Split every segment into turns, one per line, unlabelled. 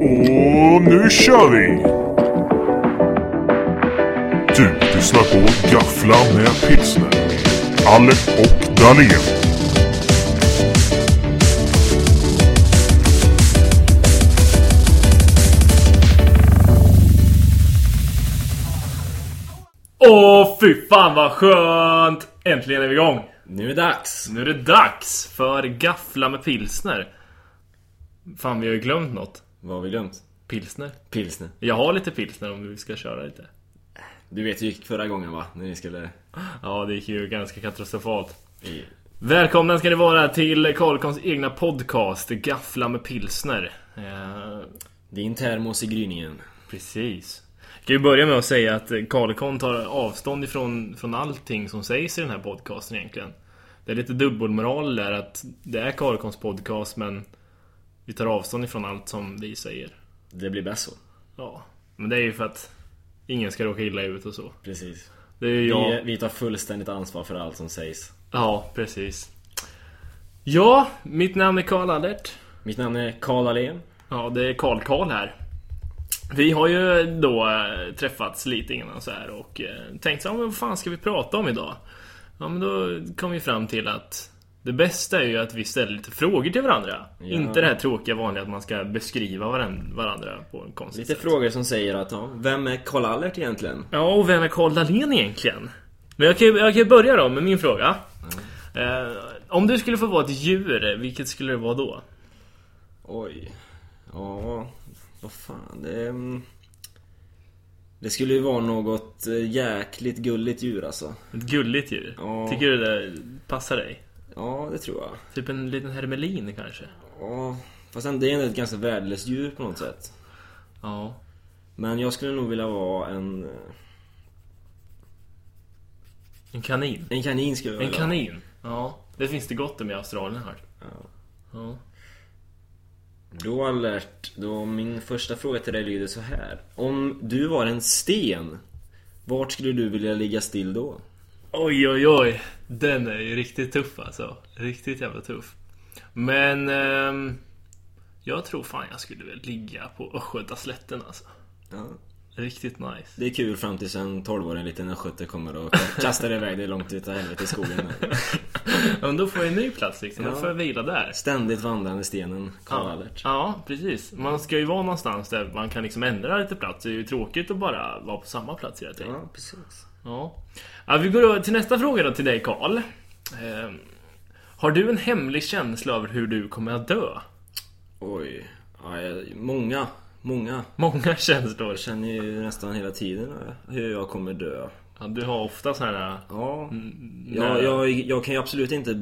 Och nu kör vi! Du lyssnar på Gaffla med pilsner. Alec och Dahlén.
Åh fy fan vad skönt! Äntligen är vi igång!
Nu är det dags!
Nu är det dags för Gaffla med pilsner. Fan vi har ju glömt något.
Vad har vi glömt?
Pilsner.
Pilsner.
Jag har lite pilsner om vi ska köra lite.
Du vet hur det gick förra gången va? När ni skulle...
Ja det gick ju ganska katastrofalt.
I...
Välkomna ska ni vara till Karlkons egna podcast Gaffla med pilsner. Eh,
Din termos i gryningen.
precis. Jag kan ju börja med att säga att Karlkon tar avstånd ifrån från allting som sägs i den här podcasten egentligen. Det är lite dubbelmoral där att det är Karlkons podcast men vi tar avstånd ifrån allt som vi säger.
Det blir bäst så.
Ja, men det är ju för att ingen ska råka illa ut och så.
Precis.
Det är ju jag.
Vi, vi tar fullständigt ansvar för allt som sägs.
Ja, precis. Ja, mitt namn är Karl Allert.
Mitt namn är Karl Allén.
Ja, det är Karl Karl här. Vi har ju då eh, träffats lite innan så här och eh, tänkt så här, "Ja, men vad fan ska vi prata om idag? Ja, men då kom vi fram till att det bästa är ju att vi ställer lite frågor till varandra. Inte det här tråkiga vanliga att man ska beskriva varan- varandra på en konstig
Lite
sätt.
frågor som säger att ja, vem är Karl Allert egentligen?
Ja, och vem är Karl Dahlén egentligen? Men jag kan ju jag kan ju börja då med min fråga. Eh, om du skulle få vara ett djur, vilket skulle det vara då?
Oj. Ja, vad fan. Det, mm, det skulle ju vara något eh, jäkligt gulligt djur alltså.
Ett gulligt djur?
Ja.
Tycker du det passar dig?
Ja, det tror jag.
Typ en liten hermelin kanske?
Ja, fast ändå är det ett ganska värdelöst djur på något sätt.
Ja.
Men jag skulle nog vilja vara en... eh,
En kanin?
En kanin skulle jag
En
vilja
kanin? Ja. Det finns det gott om i Australien här.
vara.
Ja.
Ja. Då Albert, då min första fråga till dig lyder så här. Om du var en sten, vart skulle du vilja ligga still då?
Oj, oj, oj. Den är ju riktigt tuff alltså. Riktigt jävla tuff. Men... ehm, jag tror fan jag skulle väl ligga på Östgötaslätten alltså.
Ja.
Riktigt nice.
Det är kul fram tills en 12-årig liten östgöte kommer och kastar iväg dig långt utav helvete i skogen.
Ja, Men då får jag en ny plats liksom. Då
Ja.
får jag vila där.
Ständigt vandrande stenen, Karl Albert.
Ja, precis. Man ska ju vara någonstans där man kan liksom ändra lite plats. Det är ju tråkigt att bara vara på samma plats hela tiden.
Ja, precis.
Ja. ja. Vi går över till nästa fråga då till dig Karl. Ehm, har du en hemlig känsla över hur du kommer att dö?
Oj. Ja, jag- många, många.
Många känslor.
Jag känner ju nästan hela tiden hur jag kommer dö.
Ja, du har ofta sådana här... eh,
Ja,
nej.
jag, jag, jag kan ju absolut inte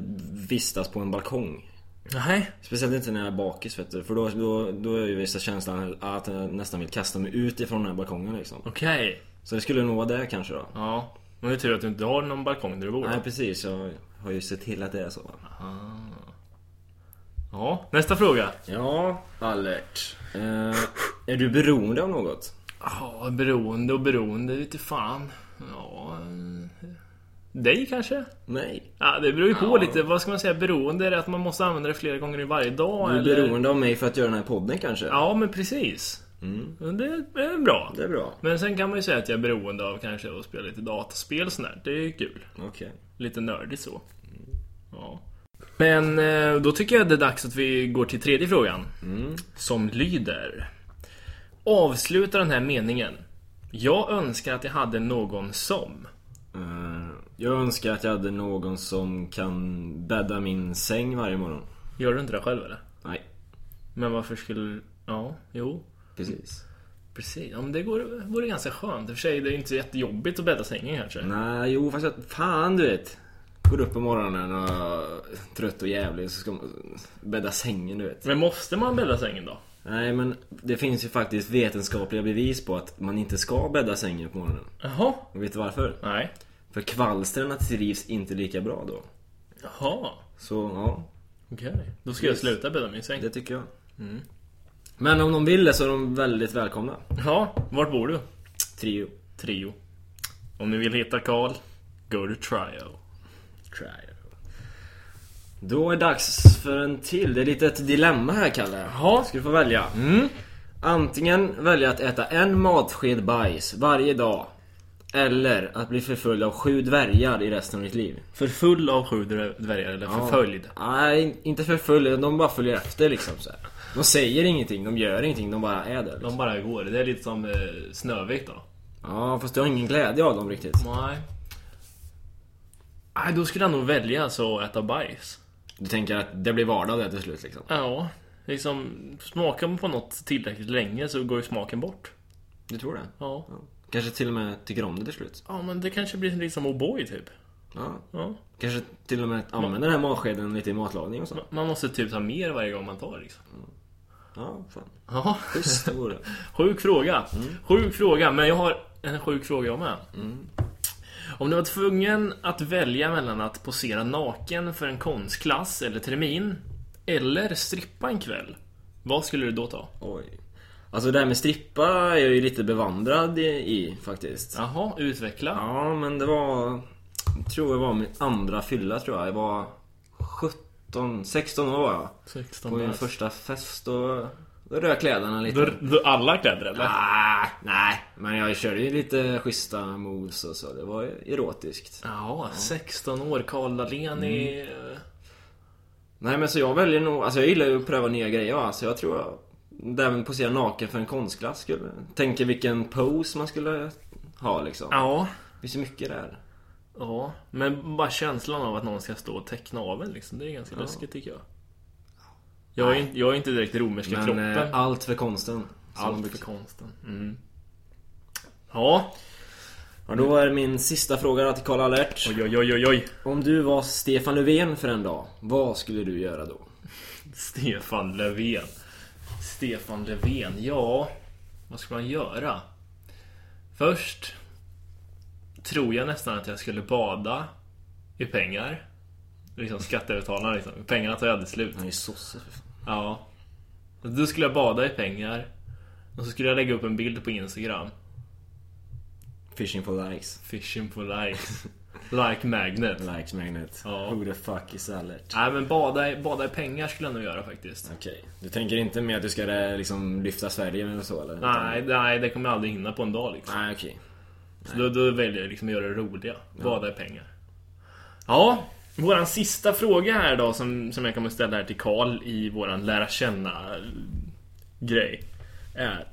vistas på en balkong.
Nej.
Speciellt inte när jag är bakis vet du. För då, då, då är ju vissa känslan att jag nästan vill kasta mig ut ifrån den här balkongen liksom.
Okej.
Så det skulle nog vara det kanske då.
Ja. Men det är tur att du inte har någon balkong där du bor.
Nej precis, jag har ju sett till att det är så.
Ja. Nästa fråga.
Ja, alert. Eh, är du beroende av något?
Ja, beroende och beroende vete fan. Ja... eh, Dig kanske?
Nej.
Ja, det beror ju på lite. Vad ska man säga? Beroende? Är det att man måste använda det flera gånger i varje dag?
Du är
eller?
beroende av mig för att göra den här podden kanske?
Ja, men precis. Men Mm. Det är bra.
Det är bra.
Men sen kan man ju säga att jag är beroende av kanske att spela lite dataspel och sånt där. Det är ju kul.
Okej.
Lite nördigt så. Ja. Men eh, då tycker jag det är dags att vi går till tredje frågan. Som lyder. Avsluta den här meningen. Jag önskar att jag hade någon som.
Eh, jag önskar att jag hade någon som kan bädda min säng varje morgon.
Gör du inte det själv eller?
Nej,
Men varför skulle... Ja, jo.
precis.
Precis. Ja, men det går, vore ganska skönt. I och för sig, det är ju inte så jättejobbigt att bädda sängen kanske.
Nej, jo fast jag, fan du vet. Går upp på morgonen och är trött och jävlig så ska man bädda sängen du vet.
Men måste man bädda sängen då?
Nej men det finns ju faktiskt vetenskapliga bevis på att man inte ska bädda sängen på morgonen.
Jaha.
Och vet du varför?
Nej.
För kvalstren trivs inte lika bra då.
Jaha.
Så ja,
Okej. Då ska jag sluta bädda min säng.
det tycker jag. Men om de vill det så är de väldigt välkomna.
Ja, vart bor du?
Trio.
Trio. Om ni vill hitta Karl, go to trio.
Try. Då är det dags för en till. Det är lite ett dilemma här Kalle.
Jaha.
Ska du få välja. Antingen välja att äta en matsked bajs varje dag. Eller att bli förföljd av sju dvärgar i resten av ditt liv.
Förfull av sju dvärgar eller förföljd.
Nej, inte förföljd. De bara följer efter liksom. Så här. De säger ingenting, de gör ingenting, de bara är där. Liksom.
De bara går. Det är lite som eh, Snövit då.
Ja, fast du har ingen glädje av dem riktigt.
Nej. Nej, då skulle jag nog välja alltså att äta bajs.
Du tänker att det blir vardag där till slut liksom.
Ja, liksom smakar man på något tillräckligt länge så går ju smaken bort.
Du tror det?
Ja.
Kanske till och med tycker om det till slut.
Ja, men det kanske blir liksom O'boy typ.
Ja.
Ja.
Kanske till och med att använda den här matskeden lite i matlagning och så.
Man måste typ ta mer varje gång man tar liksom.
Ja, fan.
Ja.
Schysst det vore.
Sjuk fråga. Sjuk fråga, men jag har en sjuk fråga jag med. Mm. Om du var tvungen att välja mellan att posera naken för en konstklass eller termin, eller strippa en kväll. Vad skulle du då ta?
Oj. Alltså det här med strippa är jag ju lite bevandrad i, i faktiskt. Ja.
Jaha, utveckla.
men det var... Tror jag var min andra fylla tror jag. Jag var 17, 16 år var jag.
16
På min
bast.
första fest och då rök kläderna lite.
Då- då Alla kläder eller?
Ah, nej, men jag körde ju lite schyssta moves och så. Det var ju erotiskt.
Ja, 16 år, Karl Dahlén i... eh,
Nej men så jag väljer nog, alltså jag gillar ju att pröva nya grejer va? så jag tror jag Även posera naken för en konstklass skulle Tänker vilken pose man skulle ha liksom
Ja.
Det finns ju mycket där
Ja, men bara känslan av att någon ska stå och teckna av en liksom, det är ganska läskigt tycker jag. Jag är, inte, jag är inte direkt romerska
Men
kroppen.
eh, allt för konsten som man
Allt
brukar
för
säga.
konsten. Mm. Ja.
ja, Då är min sista fråga till Karl Allert
Oj, oj, oj, oj, oj.
Om du var Stefan Löfven för en dag, vad skulle du göra då?
Stefan Löfven. Stefan Löfven, ja. Vad ska man göra? Först tror jag nästan att jag skulle bada i pengar. Liksom skattebetalarna liksom. Pengarna tar ju aldrig slut.
Han är ju sosse för fan.
Ja. Då skulle jag bada i pengar. Och så skulle jag lägga upp en bild på Instagram.
Fishing for likes
Fishing for likes. like magnet.
Likes magnet
Ja.
Who the fuck is Allert?
Nej men bada i, bada i pengar skulle jag nog göra faktiskt.
Okej, du tänker inte med att du ska eh, liksom lyfta Sverige eller så eller?
Nej, nej det kommer jag aldrig hinna på en dag liksom.
Nej okej
Så då, då väljer jag liksom att göra det roliga. Bada i pengar. Ja, våran sista fråga här då som, som jag kommer ställa här till Karl i våran lära känna grej. Är,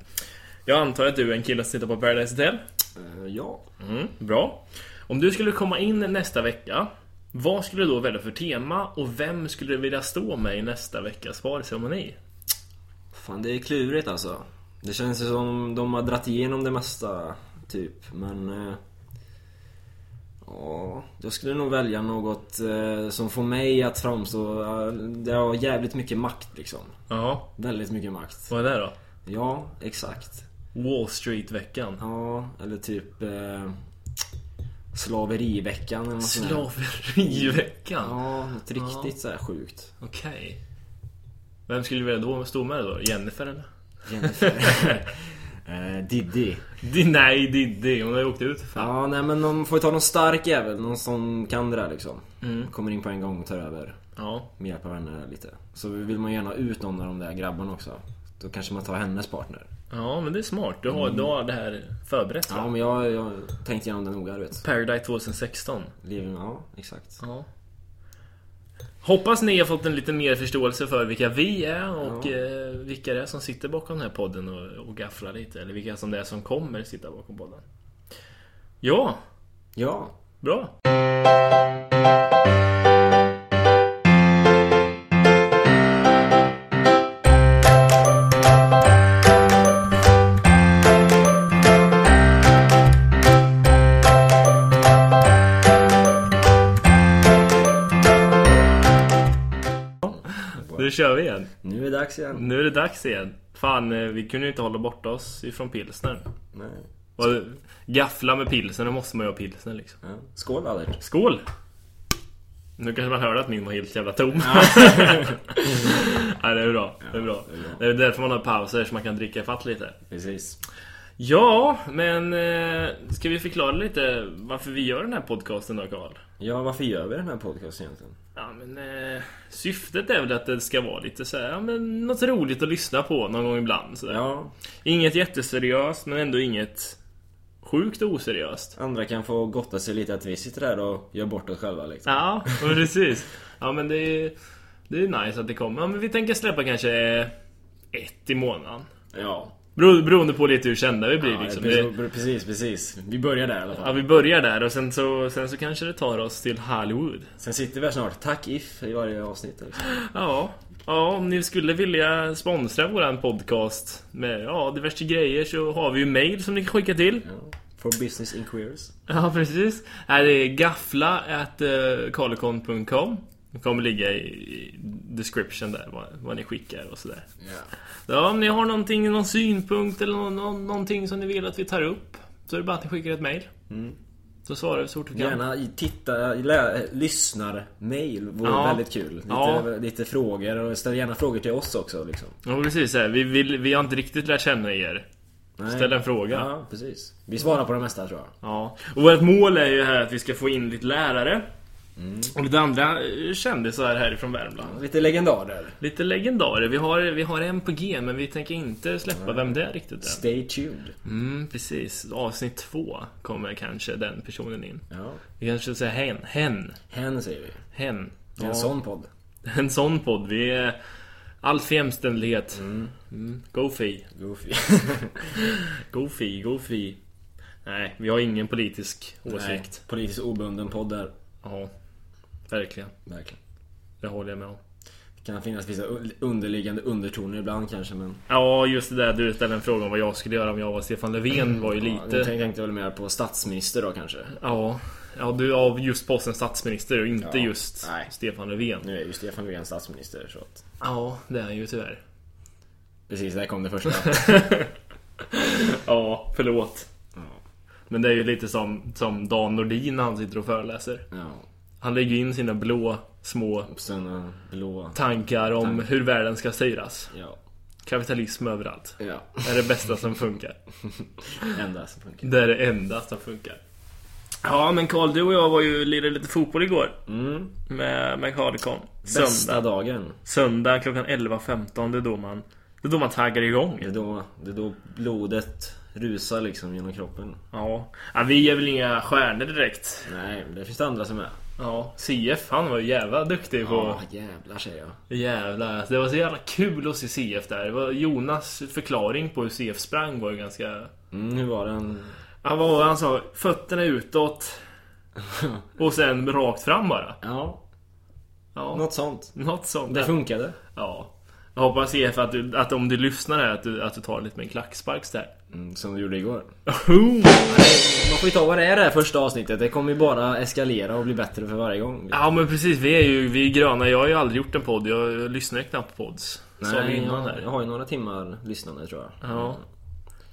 jag antar att du är en kille som tittar på Paradise Hotel.
Eh, Ja
Mm, bra. Om du skulle komma in nästa vecka, vad skulle du då välja för tema och vem skulle du vilja stå med i nästa veckas valceremoni?
Fan det är klurigt alltså. Det känns ju som de har dratt igenom det mesta, typ. Men... eh, Ja, jag skulle nog välja något eh, som får mig att framstå... eh, Det har jävligt mycket makt liksom.
Ja,
Väldigt mycket makt.
vad är det då?
Ja, exakt.
Wall Street-veckan.
Ja, eller typ... Eh, slaveriveckan eller något sånt där.
Slaveriveckan?
Ja, något riktigt
Ja.
så här sjukt.
Okej. Vem skulle du vilja då stå med då? Jennifer eller?
Jennifer. eh, Diddy.
Di- nej, Diddy. Hon har ju åkt ut för fan.
Typ. Ja, nej men de får ju ta någon stark jävel, någon som kan det där liksom. Kommer in på en gång och tar över
Ja.
med hjälp av henne där lite. Så vill man gärna ut någon av de där grabbarna också. Då kanske man tar hennes partner.
ja, men det är smart. Du har, du har det här förberett
Ja,
va?
men jag, jag tänkte igenom det noga, du vet.
Paradise 2016.
Lever med, ja, exakt.
Ja. Hoppas ni har fått en lite mer förståelse för vilka vi är och eh, vilka det är som sitter bakom den här podden och, och gafflar lite. Eller vilka som det är som kommer sitta bakom podden. Ja,
Ja,
bra. Nu kör vi igen.
nu är det dags igen.
Nu är det dags igen. Fan, eh, vi kunde ju inte hålla borta oss ifrån pilsner.
Nej.
Och Gaffla med pilsner, då måste man ju ha pilsner liksom.
Ja. Skål Albert.
Skål! Nu kanske man hörde att min var helt jävla tom. Nej, det är bra. Det är bra. Det är därför man har pauser, så man kan dricka fatt lite.
Precis.
Ja, men eh, ska vi förklara lite varför vi gör den här podcasten då, Karl?
Ja, varför gör vi den här podcasten egentligen?
Ja, men, eh, syftet är väl att det ska vara lite så här, ja, men, något roligt att lyssna på någon gång ibland. Så där.
Ja,
Inget jätteseriöst, men ändå inget sjukt oseriöst.
andra kan få gotta sig lite att vi sitter där och gör bort oss själva liksom.
Ja, men precis. Ja, men det är, det är nice att det kommer. Ja, men vi tänker släppa kanske ett i månaden.
Ja,
Bero, beroende på lite hur kända vi blir.
ja
liksom. det,
precis, precis, precis. Vi börjar där i alla fall.
ja, vi börjar där och sen så, sen så kanske det tar oss till Hollywood.
Sen sitter vi här snart. Tack If i varje avsnitt. Liksom.
Ja, ja om ni skulle vilja sponsra våran podcast med ja, diverse grejer så har vi ju mail som ni kan skicka till.
Ja. For business inquiries.
Ja, precis. Här är gaffla at eh, karlekon.com. Det kommer ligga i i description där vad, vad ni skickar och sådär.
Ja.
Ja, om ni har någonting, någon synpunkt eller nå- nå- någonting som ni vill att vi tar upp så är det bara att ni skickar ett mail. Så svarar vi så fort vi kan.
Mm. Gärna i- titta, lä, eh, lyssnar-mail vore
Ja.
väldigt kul. Lite,
Ja.
lite frågor och ställ gärna frågor till oss också. Liksom.
Ja, precis. så här. Vi, vill, vi har inte riktigt lärt känna er.
Nej.
Ställ en fråga.
Ja, precis. Vi svarar på det mesta tror jag.
Ja, och vårt mål är ju här att vi ska få in lite lärare.
Mm.
Och lite andra eh, kändisar härifrån Värmland.
Lite legendarer.
Lite legendarer. Vi har, vi har en på G, men vi tänker inte släppa vem det är riktigt än.
Stay tuned.
Mm, precis. Avsnitt två kommer kanske den personen in.
Ja.
Vi kanske ska säga hen. Hen.
Hen säger vi.
Hen.
En
Ja.
sån podd.
En sån podd. Vi är allt för jämställdhet. Mm. Go fi.
Goofy.
Go fi, go fi. Nej, vi har ingen politisk åsikt.
Nej, Politiskt obunden podd där.
Ja, verkligen.
Verkligen.
Det håller jag med om.
Det kan finnas vissa un- underliggande undertoner ibland kanske men...
Ja, just det där du ställde en fråga om vad jag skulle göra om jag var Stefan Löfven var ju
Ja, nu
lite...
tänkte jag väl mer på statsminister då kanske.
Ja, ja du av just posten statsminister och inte
Ja,
just
nej.
Stefan Löfven.
Nu är ju Stefan Löfven statsminister så att...
Ja, det är han ju tyvärr.
Precis, där kom det första.
Ja, förlåt.
Ja.
Men det är ju lite som, som Dan Nordin när han sitter och föreläser.
ja.
Han lägger in sina blå små
Och sen eh, blå...
tankar om hur världen ska styras.
Ja.
Kapitalism överallt.
Ja.
Det är det bästa som funkar.
Enda som funkar.
Det är det enda som funkar. Ja, men Karl, du och jag var ju lirade lite fotboll igår.
Mm.
Med, med Carlicon.
Bästa
Söndag.
dagen.
Söndag klockan 11.15, det är då man, det är då man taggar igång.
Det är, då, det är då blodet rusar liksom genom kroppen.
Ja. ja, vi är väl inga stjärnor direkt.
Nej, men det finns det andra som är.
Ja, CF han var ju jävla duktig på...
Ja, jävlar säger jag.
Jävlar, alltså, det var så jävla kul att se CF där. Det var Jonas förklaring på hur CF sprang var ju ganska...
Mm, hur var den?
Han, var, han sa fötterna utåt och sen rakt fram bara.
Ja,
Ja,
något sånt.
något sånt.
Det funkade.
Ja. Jag hoppas CF att, du, att om du lyssnar här att du, att du tar lite med en klackspark där.
Mm, som du gjorde igår.
Oh!
Man får ju ta vad det är det här första avsnittet. Det kommer ju bara eskalera och bli bättre för varje gång.
Ja men precis, vi är ju vi är gröna. Jag har ju aldrig gjort en podd. Jag lyssnar ju knappt på podds. Sa vi innan
jag, jag
här.
har ju några timmar lyssnande tror jag.
Ja.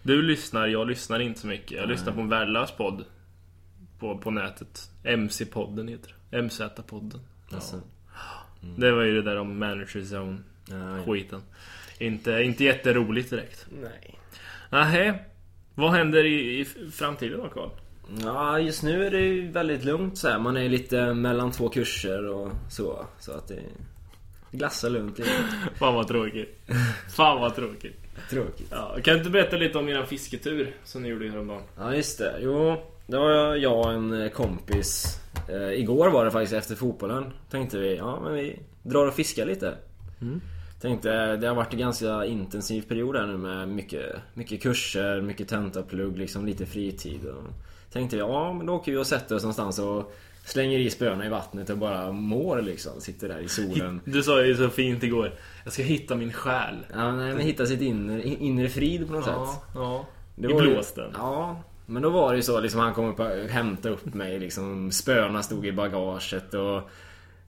Du lyssnar, jag lyssnar inte så mycket. Jag lyssnar på en värdelös podd. På, på nätet. MC-podden heter det. MZ-podden. Ja.
Alltså,
Det var ju det där om manager zone-skiten.
nej.
Inte, inte jätteroligt direkt.
nej.
Nähä. Vad händer i, i framtiden då Karl?
Ja, just nu är det ju väldigt lugnt så här. Man är lite mellan två kurser och så. Så att det glassar lugnt. Det är
Fan vad tråkigt. Fan vad tråkigt.
tråkigt.
Ja, kan du inte berätta lite om eran fisketur som ni gjorde häromdagen?
Ja, just det. Jo, det var jag och en kompis. Eh, igår var det faktiskt efter fotbollen. Tänkte vi, ja men vi drar och fiskar lite. Tänkte, eh, det har varit en ganska intensiv period här nu med mycket, mycket kurser, mycket tentaplugg, liksom lite fritid. Och tänkte vi, ja men då åker vi och sätter oss någonstans och slänger i spöna i vattnet och bara mår liksom. Sitter där i solen.
Du sa ju så fint igår. Jag ska hitta min själ.
Ja, nej, men hitta sitt inre, inre frid på något sätt.
ja.
Det
I
var ju-
blåsten.
Ja, men då var det ju så liksom han kom upp och hämtade upp mig liksom. Spöna stod i bagaget och...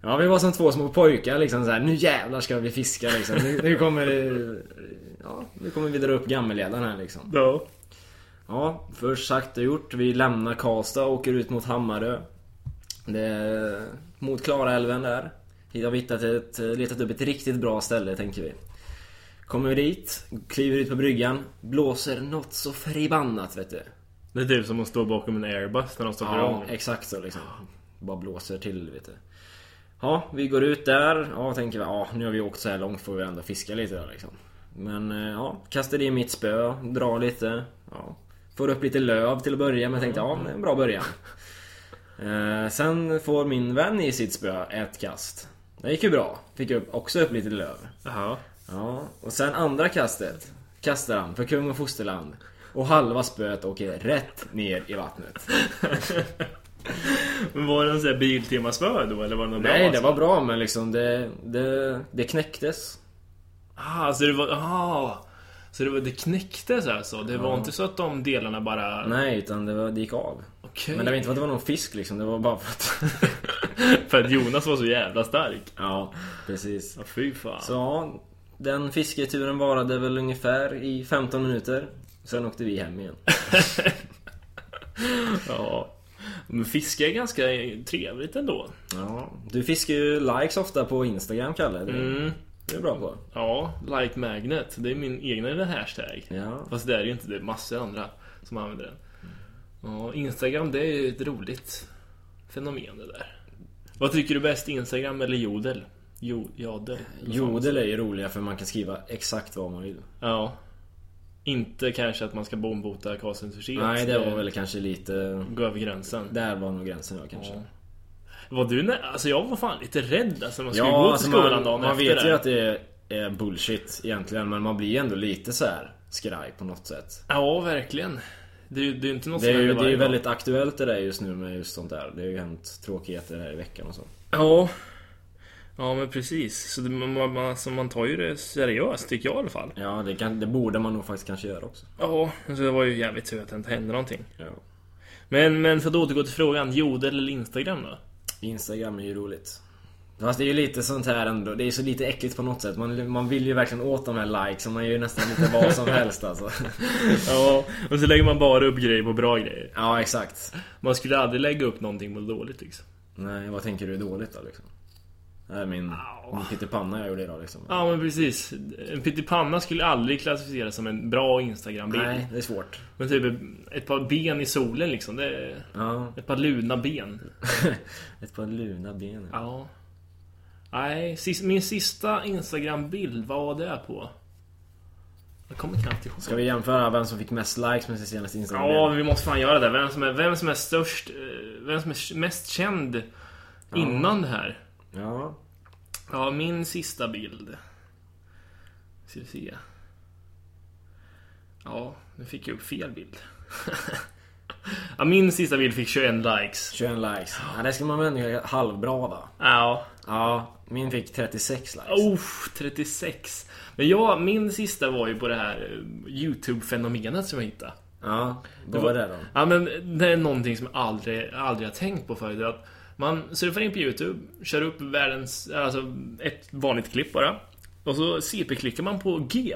Ja, vi var som två små pojkar liksom så här, Nu jävlar ska vi fiska liksom. Nu, nu kommer det- Ja, nu kommer vi dra upp gammelledaren här liksom.
Ja.
Ja, först sagt och gjort. Vi lämnar Karlstad och åker ut mot Hammarö. Det är mot Klarälven där. Hit har vi hittat ett, letat upp ett riktigt bra ställe tänker vi. Kommer vi dit, kliver ut på bryggan, blåser något så förbannat vet du.
Det är typ som att stå bakom en airbus när de stoppar
Ja,
igång.
exakt så liksom. Bara blåser till vet du. Ja, vi går ut där. Ja, tänker vi. Ja, nu har vi åkt så här långt får vi ändå fiska lite där liksom. Men eh, ja, kastade i mitt spö, drar lite. Ja. Får upp lite löv till att börja med. Tänkte ja, det är en bra början. Eh, sen får min vän i sitt spö ett kast. Det gick ju bra. Fick upp, också upp lite löv.
Jaha.
Ja, och sen andra kastet kastar han för kung och fosterland. Och halva spöet åker rätt ner i vattnet.
Men var det en sån här Biltemaspö då eller var det något bra?
Nej, det
spö?
var bra men liksom det, det, det knäcktes.
Ah, så det var... Ah, så det, var, det knäcktes alltså? Det var inte så att de delarna bara...
Nej, utan det, var, det gick av.
Okej.
Men det var inte för att det var någon fisk liksom, det var bara för att...
För att Jonas var så jävla stark.
Ja, precis.
Ja, fy fan.
Så ja, den fisketuren varade väl ungefär i 15 minuter. Sen åkte vi hem igen.
Ja. Men fiske är ganska trevligt ändå.
Ja, du fiskar ju likes ofta på Instagram, Kalle. Det,
Mm.
det är du bra på.
Ja, like magnet. Det är min egna lilla hashtag.
Ja.
Fast det är ju inte det. är Massor andra som använder den. Ja, Instagram det är ju ett roligt fenomen det där. Vad tycker du bäst? Instagram eller Jodel? Jo, jodel?
Eh, Jodel är ju roliga för man kan skriva exakt vad man vill.
Ja. Inte kanske att man ska bombota Karlsson för sent.
Nej, det var väl kanske lite...
Gå över gränsen.
Där var nog gränsen jag kanske.
Var du nä- Alltså jag var fan lite rädd alltså, när man skulle
Ja,
gå till
alltså
skolan
man,
dagen
man
efter
vet
det.
ju att det är bullshit egentligen, men man blir ändå lite så här skraj på något sätt.
Ja, verkligen. Det är ju det är inte något
Det är
som
ju
händer
det är ju
varje dag.
väldigt aktuellt det där just nu med just sånt där. Det har ju hänt tråkigheter här i veckan och så.
Ja. Ja, men precis. Så det, man, man, man- alltså, man tar ju det seriöst, tycker jag i alla fall.
Ja, det, kan, det borde man nog faktiskt kanske göra också.
Ja, alltså, det var ju jävligt tur att det inte hände någonting.
Ja.
Men, men för att återgå till frågan, Jodel eller Instagram då?
Instagram är ju roligt. Fast det är ju lite sånt här ändå. Det är ju så lite äckligt på något sätt. Man, man vill ju verkligen åt de här likes. och Man gör ju nästan lite vad som helst alltså.
Ja, och så lägger man bara upp grejer på bra grejer.
Ja, exakt.
Man skulle aldrig lägga upp någonting på dåligt liksom.
Nej, vad tänker du är dåligt då liksom? Det här är min, min pyttipanna jag gjorde idag liksom.
Ja, men precis. En pyttipanna skulle aldrig klassificeras som en bra Instagram-bild.
Nej, det är svårt.
Men typ ett par ben i solen liksom. Det är
Ja.
ett par luna ben.
Ett par luna ben. ja.
Ja. Nej, sis- min sista Instagram-bild, vad var det på? Jag kommer knappt ihåg.
Ska vi jämföra vem som fick mest likes med sin senaste Instagram?
Ja, vi måste fan göra det. Vem som är, vem som är störst, eh, vem som är mest känd innan det här.
ja.
Ja, min sista bild. Ska vi se. Ja, nu fick jag upp fel bild. ja, min sista bild fick 21 likes.
21 likes. Ja, det ska man väl ändå göra halvbra va?
Ja.
Ja, min fick 36 likes.
Oh, 36. Men ja, min sista var ju på det här eh, YouTube-fenomenet som jag hittade.
Ja, vad var det då?
Ja, men det är någonting som jag aldrig, aldrig har tänkt på förut. Att man surfar in på YouTube, kör upp världens, alltså ett vanligt klipp bara. Och så CP-klickar man på G.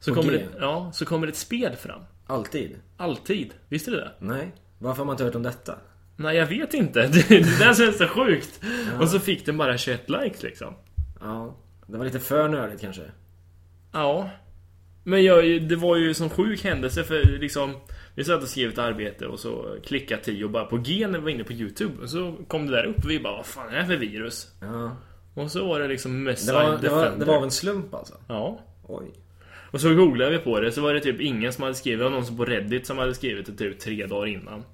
Så,
På
kommer,
G?
Det, ja, så kommer det ett spel fram.
Alltid?
Alltid. Visste du det?
Nej. Varför har man inte hört om detta?
Nej, jag vet inte. Det, det där känns så sjukt. Och så fick den bara 21 likes liksom.
Ja, det var lite för nördigt kanske.
Ja. Men jag, det var ju som sjuk händelse för liksom Vi satt och skrev ett arbete och så klickade Tio bara på G när vi var inne på Youtube och så kom det där upp och vi bara Vad fan är det här för virus?
Ja.
Och så var det liksom Missile
Det, var, det, var,
Defender
det var av en slump alltså?
Ja
Oj.
Och så googlade vi på det så var det typ ingen som hade skrivit Det var någon som på Reddit som hade skrivit det typ tre dagar innan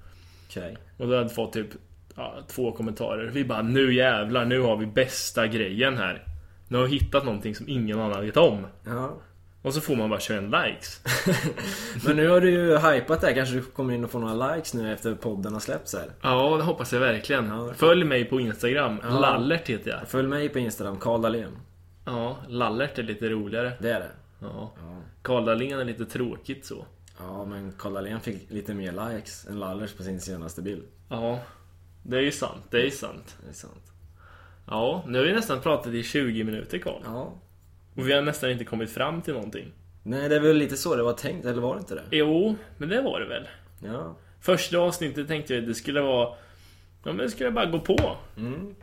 Okej.
Och då hade vi fått typ ja, två kommentarer Vi bara nu jävlar nu har vi bästa grejen här Nu har vi hittat någonting som ingen annan vet om
Ja.
Och så får man bara 21 likes
Men nu har du ju hypat det här. Kanske du kommer in och får några likes nu efter podden har släppts här.
Ja, det hoppas jag verkligen.
Ja.
Följ mig på Instagram.
Ja.
Lallert heter jag.
Följ mig på Instagram, Karl Dahlén.
Ja, Lallert är lite roligare.
Det är det.
Ja.
Ja.
Karl Dahlén är lite tråkigt så.
Ja, men Karl Dahlén fick lite mer likes än Lallers på sin senaste bild.
Ja, det är ju sant. Det är ju sant.
Det är sant.
Ja, nu har vi nästan pratat i 20 minuter Karl.
Ja.
Och vi har nästan inte kommit fram till någonting.
Nej, det är väl lite så det var tänkt, eller var det inte det?
Jo, men det var det väl.
Ja.
Första avsnittet tänkte jag att det skulle vara... Ja, men det skulle jag bara gå på.
Mm.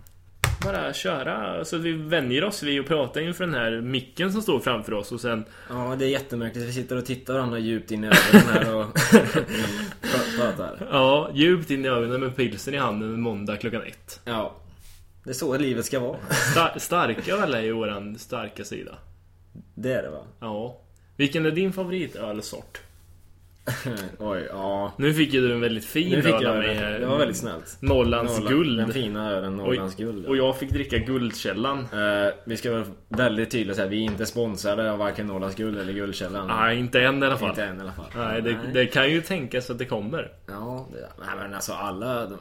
Bara köra så att vi vänjer oss vid att prata inför den här micken som står framför oss och sen
Ja, det är jättemärkligt. Vi sitter och tittar varandra djupt in i ögonen här och pra- pratar.
Ja, djupt in i ögonen med pilsen i handen en måndag klockan ett.
Ja. Det är så livet ska vara.
Star- starköl är ju våran starka sida.
Det är det va?
Ja. Vilken är din favoritölsort?
Oj, ja.
Nu fick ju du en väldigt fin
Nu fick
öl av
jag
mig
det.
här.
Det var väldigt snällt.
Norrlands
Norrland-
guld.
Den fina ölen
Och-
Norrlands guld. ja.
Och jag fick dricka Guldkällan.
Eh, vi ska vara väldigt tydliga så här, vi är inte sponsrade av varken Norrlands guld eller Guldkällan.
Nej, inte än i alla fall.
Inte än i alla fall.
Nej, det, det kan ju tänkas att det kommer.
Ja, det, nej men alltså alla... De,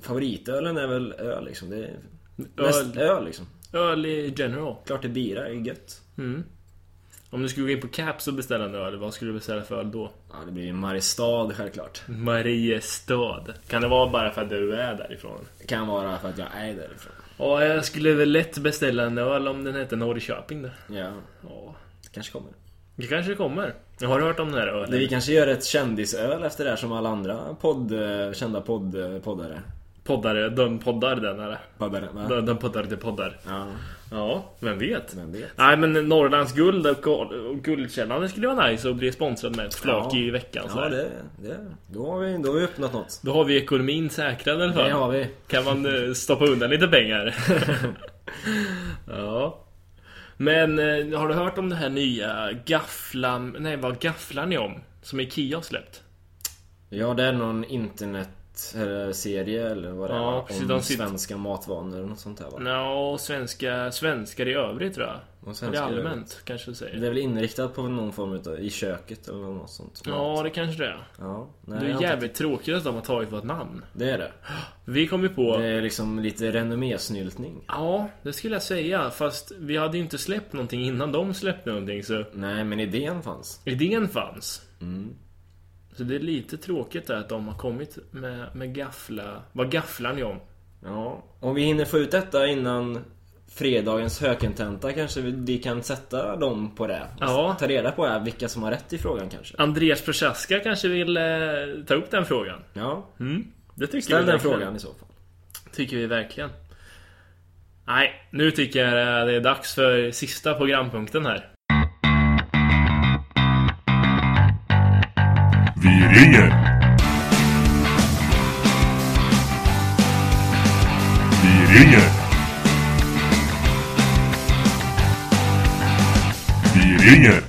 favoritölen är väl öl liksom. Det är, Mest öl liksom.
Öl i general.
Klart det är bira, det är gött.
Om du skulle gå in på Caps och beställa en öl, vad skulle du beställa för öl då?
Ja, det blir ju Mariestad självklart.
Mariestad. Kan det vara bara för att du är därifrån?
Det kan vara för att jag är därifrån.
Ja, jag skulle väl lätt beställa en öl om den hette Norrköping då.
Ja,
Ja,
det kanske kommer.
det kanske kommer. Jag har hört om den här ölen.
Det, vi kanske gör ett kändisöl efter det här som alla andra podd, eh, kända podd, eh, poddare.
Poddare, de poddar den eller?
Poddare, va?
De, de poddar, de poddar.
Ja,
Ja, vem vet?
vem vet.
Nej men Norrlands guld och gol- och Guldkällan det skulle vara nice att bli sponsrad med ett flak
Ja.
i veckan.
Ja,
sådär.
det, det. Då, har vi, då har vi uppnått något.
Då har vi ekonomin säkrad i alla fall.
Det har vi.
Kan man eh, stoppa undan lite pengar? ja. Men eh, har du hört om det här nya gafflan... Nej, vad gafflar ni om? Som Ikea har släppt?
Ja, det är någon internetserie eller vad det
Ja,
är
precis,
va?
de
Om
sitter-
svenska matvanor och något sånt där va?
Ja, och svenska, svenskar i övrigt tror jag.
Och
Eller
svenskar i
allmänt kanske du säger.
Det är väl inriktat på någon form utav i köket eller något sånt.
Ja, det kanske det är.
ja nej,
Det är
jag har inte-
jävligt tråkigt att de har tagit vårt namn.
Det är det.
Vi kom ju på...
Det är liksom lite renommésnyltning.
Ja, det skulle jag säga. Fast vi hade ju inte släppt någonting innan de släppte någonting så...
Nej, men idén fanns.
Idén fanns.
Mm.
Så det är lite tråkigt där att de har kommit med, med gaffla... Vad gafflar ni om?
Ja, om vi hinner få ut detta innan fredagens hökententa kanske vi, vi kan sätta dem på det.
Ja.
Ta reda på här vilka som har rätt i frågan kanske.
Andreas Prochaska kanske vill eh, ta upp den frågan?
Ja,
Det tycker
ställ
vi
den
verkligen.
frågan i så fall.
Tycker vi verkligen. Nej, nu tycker jag eh, det är dags för sista programpunkten här.
Vi ringer! Vi ringer! Vi ringer!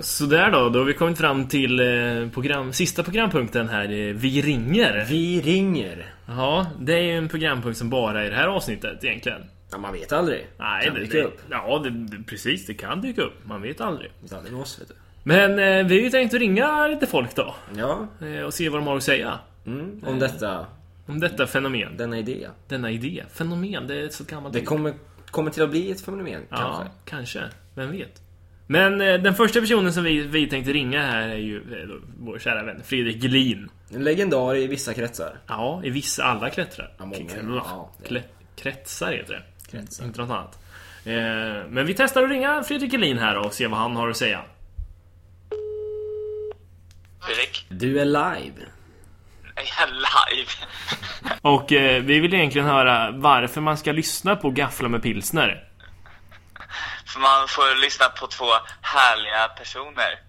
Sådär då, då har vi kommit fram till eh, program, sista programpunkten här. eh, Vi ringer.
Vi ringer.
Ja, det är ju en programpunkt som bara är i det här avsnittet egentligen.
Ja, man vet aldrig.
Nej,
kan
det,
dyka
det,
upp.
ja det, det, precis. Det kan dyka upp. Man vet aldrig.
Det är aldrig med oss vet du.
Men eh, vi har ju tänkt att ringa lite folk då.
Ja,
Eh, och se vad de har att säga.
mm. om detta.
Om detta fenomen.
Denna idé.
Denna idé. Fenomen, det är ett så gammalt
Det
ord.
kommer, kommer till att bli ett fenomen kanske.
Ja, kanske. Vem vet? Men eh, den första personen som vi, vi tänkte ringa här är ju eh, då vår kära vän Fredrik Gelin.
En legendar i vissa kretsar.
Ja, i vissa, alla klättrar.
Ja, många.
Kl-
Ja, det-
klä- kretsar heter det.
Kretsar.
Inte något annat. Eh, Men vi testar att ringa Fredrik Gelin här och se vad han har att säga.
Fredrik?
Du är live.
Nej, live.
Och eh, vi vill egentligen höra varför man ska lyssna på Gaffla med pilsner.
För man får lyssna på två härliga personer.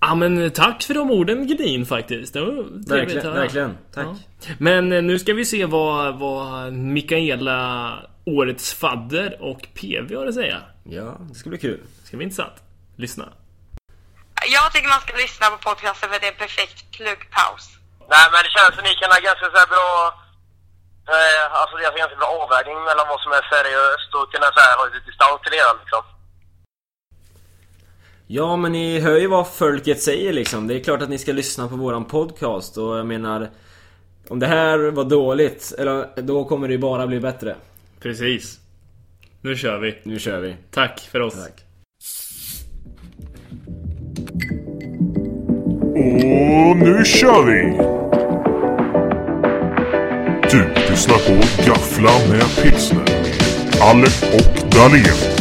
Ja men tack för de orden Gedin faktiskt. Det var trevligt att
Verkligen,
höra.
verkligen. Tack.
Ja. Men eh, nu ska vi se vad, vad Mikaela, Årets fadder och PV har att säga.
Ja, det ska bli kul.
Det ska bli intressant. Lyssna.
Jag tycker man ska lyssna på podcasten för det är en perfekt pluggpaus.
Nej, men det känns som ni kan ha ganska så här bra... Eh, alltså det är ganska bra avvägning mellan vad som är seriöst och kunna så här, ha lite distans till det hela, liksom.
Ja, men ni hör ju vad folket säger liksom. Det är klart att ni ska lyssna på våran podcast och jag menar... Om det här var dåligt, eller då kommer det ju bara bli bättre.
Precis. Nu kör vi.
Nu kör vi.
Tack för oss.
Tack.
Och nu kör vi! Du lyssnar på Gaffla med pilsner. Alec och Dahlén.